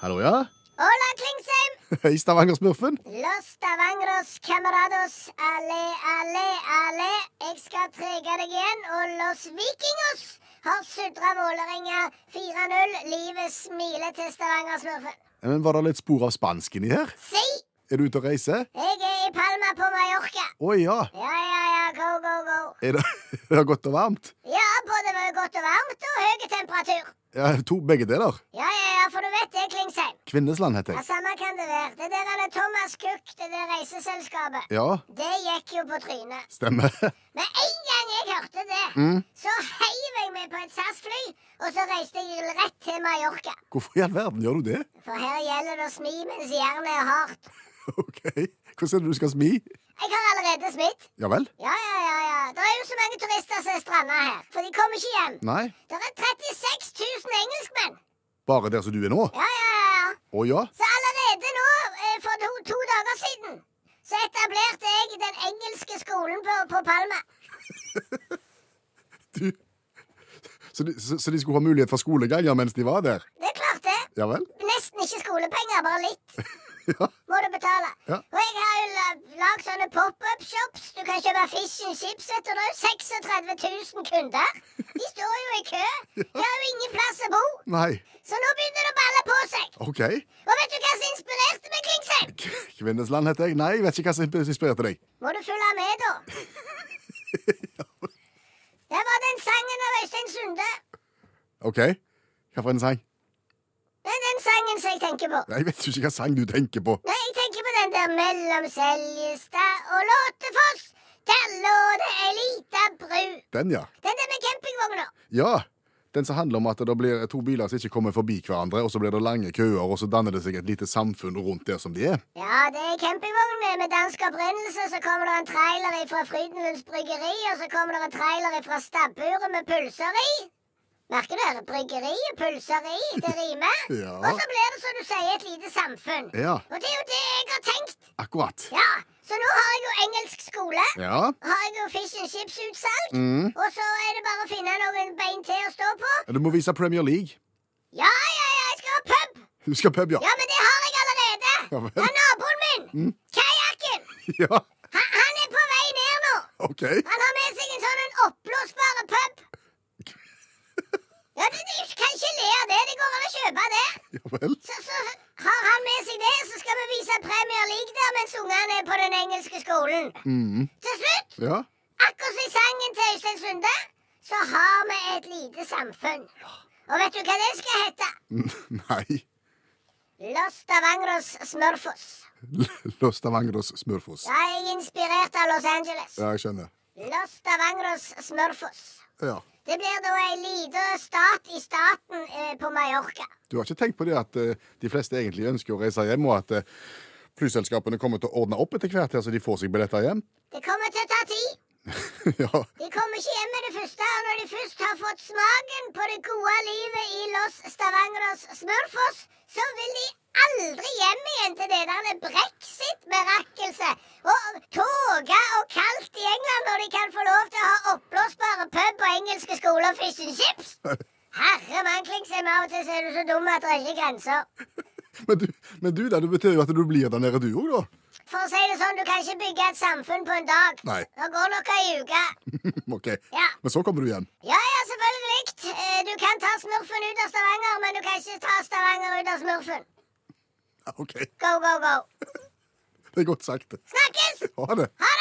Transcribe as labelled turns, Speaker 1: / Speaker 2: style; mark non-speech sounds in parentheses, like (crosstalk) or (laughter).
Speaker 1: Hallo, ja? (laughs)
Speaker 2: Hola, Klingsheim!
Speaker 1: Hei, Stavanger-smurfen.
Speaker 2: Los Stavangros camarados, alle, alle, alle. Jeg skal trege deg igjen, og Los Vikingos har sudra Vålerenga 4-0. Livet smiler til Stavanger-smurfen.
Speaker 1: Men var det litt spor av spansk inni her?
Speaker 2: Si!
Speaker 1: Er du ute og reiser?
Speaker 2: Jeg er i Palma på Mallorca.
Speaker 1: Å ja.
Speaker 2: Ja, ja, ja, go, go, go.
Speaker 1: Er det, (laughs) er det godt og varmt?
Speaker 2: Ja, både var godt og varmt og høy temperatur.
Speaker 1: Ja, to, begge deler.
Speaker 2: Ja, ja, ja, for du vet det, Klingsheim.
Speaker 1: Kvinnesland heter
Speaker 2: Ja,
Speaker 1: jeg.
Speaker 2: Samme kan det være. Det der er det Thomas Cook, det der reiseselskapet.
Speaker 1: Ja,
Speaker 2: Det gikk jo på trynet.
Speaker 1: stemmer. (laughs) Mm.
Speaker 2: Med en gang jeg hørte det, så heiv jeg meg på et SAS-fly, og så reiste jeg rett til Mallorca.
Speaker 1: Hvorfor i all verden gjør du det? (laughs)
Speaker 2: For her gjelder det å smi mens jernet er hardt.
Speaker 1: OK. Hvordan er det du skal smi?
Speaker 2: Jeg har allerede smitt.
Speaker 1: Ja vel?
Speaker 2: Ja, ja, ja, ja. Det er jo så mange turister som er stranda her, for de kommer ikke hjem.
Speaker 1: Nei.
Speaker 2: Det er 36 000 engelskmenn.
Speaker 1: Bare der som du er nå?
Speaker 2: Ja, ja, ja. ja.
Speaker 1: Å ja.
Speaker 2: Så allerede nå, eh, for to, to dager siden, så etablerte jeg den engelske skolen på, på Palma.
Speaker 1: Du. (laughs) Så, de, så, så de skulle ha mulighet for skoleganger mens de var der?
Speaker 2: Det klarte jeg.
Speaker 1: Ja vel? (laughs)
Speaker 2: Nesten ikke skolepenger, bare litt.
Speaker 1: Ja.
Speaker 2: må du betale.
Speaker 1: Ja.
Speaker 2: Og jeg har jo la- lagd sånne pop-up-shops. Du kan kjøpe fish and chips. vet du. Det er jo 36 000 kunder. De står jo i kø. De har jo ingen plass å bo.
Speaker 1: Nei.
Speaker 2: Så nå begynner det å balle på seg.
Speaker 1: OK.
Speaker 2: Og vet du hva som inspirerte meg, Klingsheim?
Speaker 1: Kvinnesland heter jeg. Nei, jeg vet ikke hva som inspirerte deg.
Speaker 2: Må du følge med, da. Det var den sangen av Øystein Sunde.
Speaker 1: OK. Hva for en sang?
Speaker 2: Det er den sangen som jeg tenker på.
Speaker 1: Nei, Jeg vet jo ikke hva sang du tenker på.
Speaker 2: Nei, jeg tenker på den der mellom Seljestad og Låtefoss. Der lå det ei lita bru.
Speaker 1: Den, ja.
Speaker 2: Den der med campingvogna.
Speaker 1: Ja. Den som handler om at det blir to biler som ikke kommer forbi hverandre, og så blir det lange køer, og så danner det seg et lite samfunn rundt der som de er.
Speaker 2: Ja, det er campingvogn med dansk opprinnelse. Så kommer det en trailer fra Frydenlunds bryggeri, og så kommer det en trailer fra stabburet med pølser i. Merker du det? Bryggeri og pølser i. Det rimer.
Speaker 1: (laughs) Ja.
Speaker 2: Og så blir det, som du sier, et lite samfunn.
Speaker 1: Ja,
Speaker 2: Og det er jo det jeg har tenkt.
Speaker 1: akkurat.
Speaker 2: Ja, Så nå har jeg jo engelsk skole.
Speaker 1: Ja.
Speaker 2: Har jeg jo fish and chips-utsalg.
Speaker 1: Mm.
Speaker 2: Og så er det bare å finne noen bein til å stå på.
Speaker 1: Du må vise Premier League.
Speaker 2: Ja, ja, ja, jeg skal ha pub!
Speaker 1: Du skal pub, ja. (laughs)
Speaker 2: Ja, men det har jeg allerede!
Speaker 1: Ja vel. Mm.
Speaker 2: Det er naboen min! Kajakken!
Speaker 1: Ja,
Speaker 2: Han, han er på vei ned nå!
Speaker 1: OK.
Speaker 2: Han har med seg en sånn en oppblåsbar pub. Ja, du, du kan ikke le av det. Det går an å kjøpe det.
Speaker 1: Ja vel.
Speaker 2: Så, så har han med seg det, så skal vi vise Premier League der mens ungene er på den engelske skolen.
Speaker 1: Mm.
Speaker 2: Til slutt,
Speaker 1: Ja.
Speaker 2: akkurat som i sangen til Øystein Sunde, så har vi et lite samfunn. Og vet du hva det skal hete?
Speaker 1: Mm, Nei.
Speaker 2: Los Stavangros Smørfoss.
Speaker 1: L- Los Stavangers Smurfos.
Speaker 2: Da er jeg inspirert av Los Angeles.
Speaker 1: Ja, jeg skjønner.
Speaker 2: Los Stavangros Smørfoss.
Speaker 1: Ja.
Speaker 2: Det blir da ei lita stat i staten eh, på Mallorca.
Speaker 1: Du har ikke tenkt på det at eh, de fleste egentlig ønsker å reise hjem, og at eh, flyselskapene kommer til å ordne opp etter hvert her, så de får seg billetter hjem?
Speaker 2: Det kommer til å ta tid.
Speaker 1: (laughs) ja.
Speaker 2: De kommer ikke hjem med det første. Og når de først har fått smaken på det gode livet i Los Stavangros Smørfoss, så vil de aldri hjem igjen til det der brexit-berakkelse. Og tåke og kaldt i England når de kan få lov til å ha oppblåsbare pub og engelske skoler og fish and chips. Herre mann, Klingsheim, av og til så er du så dum at det er ikke grenser.
Speaker 1: Men du, men du da, det betyr jo at du blir der nede, du òg, da.
Speaker 2: For å si det sånn, du kan ikke bygge et samfunn på en dag.
Speaker 1: Nei. (laughs)
Speaker 2: Det går nok ei uke.
Speaker 1: OK.
Speaker 2: Ja.
Speaker 1: Men så kommer du hjem.
Speaker 2: Ja, ja, selvfølgelig. Eh, Du kan ta smurfen ut av Stavanger, men du kan ikke ta Stavanger ut av smurfen.
Speaker 1: Ja, OK.
Speaker 2: Go, go, go.
Speaker 1: Det er godt sagt.
Speaker 2: Snakkes!
Speaker 1: Ha det.
Speaker 2: Ha